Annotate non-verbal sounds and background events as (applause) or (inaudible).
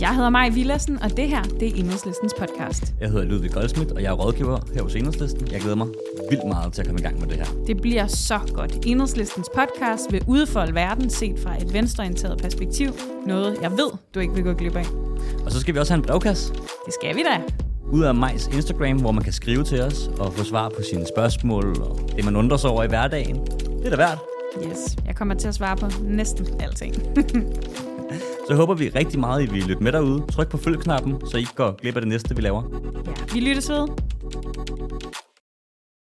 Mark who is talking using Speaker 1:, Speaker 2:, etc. Speaker 1: Jeg hedder Maj Villassen, og det her, det er Enhedslistens podcast.
Speaker 2: Jeg hedder Ludvig Goldsmith, og jeg er rådgiver her hos Enhedslisten. Jeg glæder mig vildt meget til at komme i gang med det her.
Speaker 1: Det bliver så godt. Enhedslistens podcast vil udfolde verden set fra et venstreorienteret perspektiv. Noget, jeg ved, du ikke vil gå glip af.
Speaker 2: Og så skal vi også have en brevkasse
Speaker 1: Det skal vi da.
Speaker 2: ud af Majs Instagram, hvor man kan skrive til os og få svar på sine spørgsmål og det, man undrer sig over i hverdagen. Det er da værd.
Speaker 1: Yes, jeg kommer til at svare på næsten alting. (laughs)
Speaker 2: Så håber vi rigtig meget, at I vil lytte med derude. Tryk på følg-knappen, så I ikke går glip af det næste, vi laver.
Speaker 1: ja. Vi lyttes ved.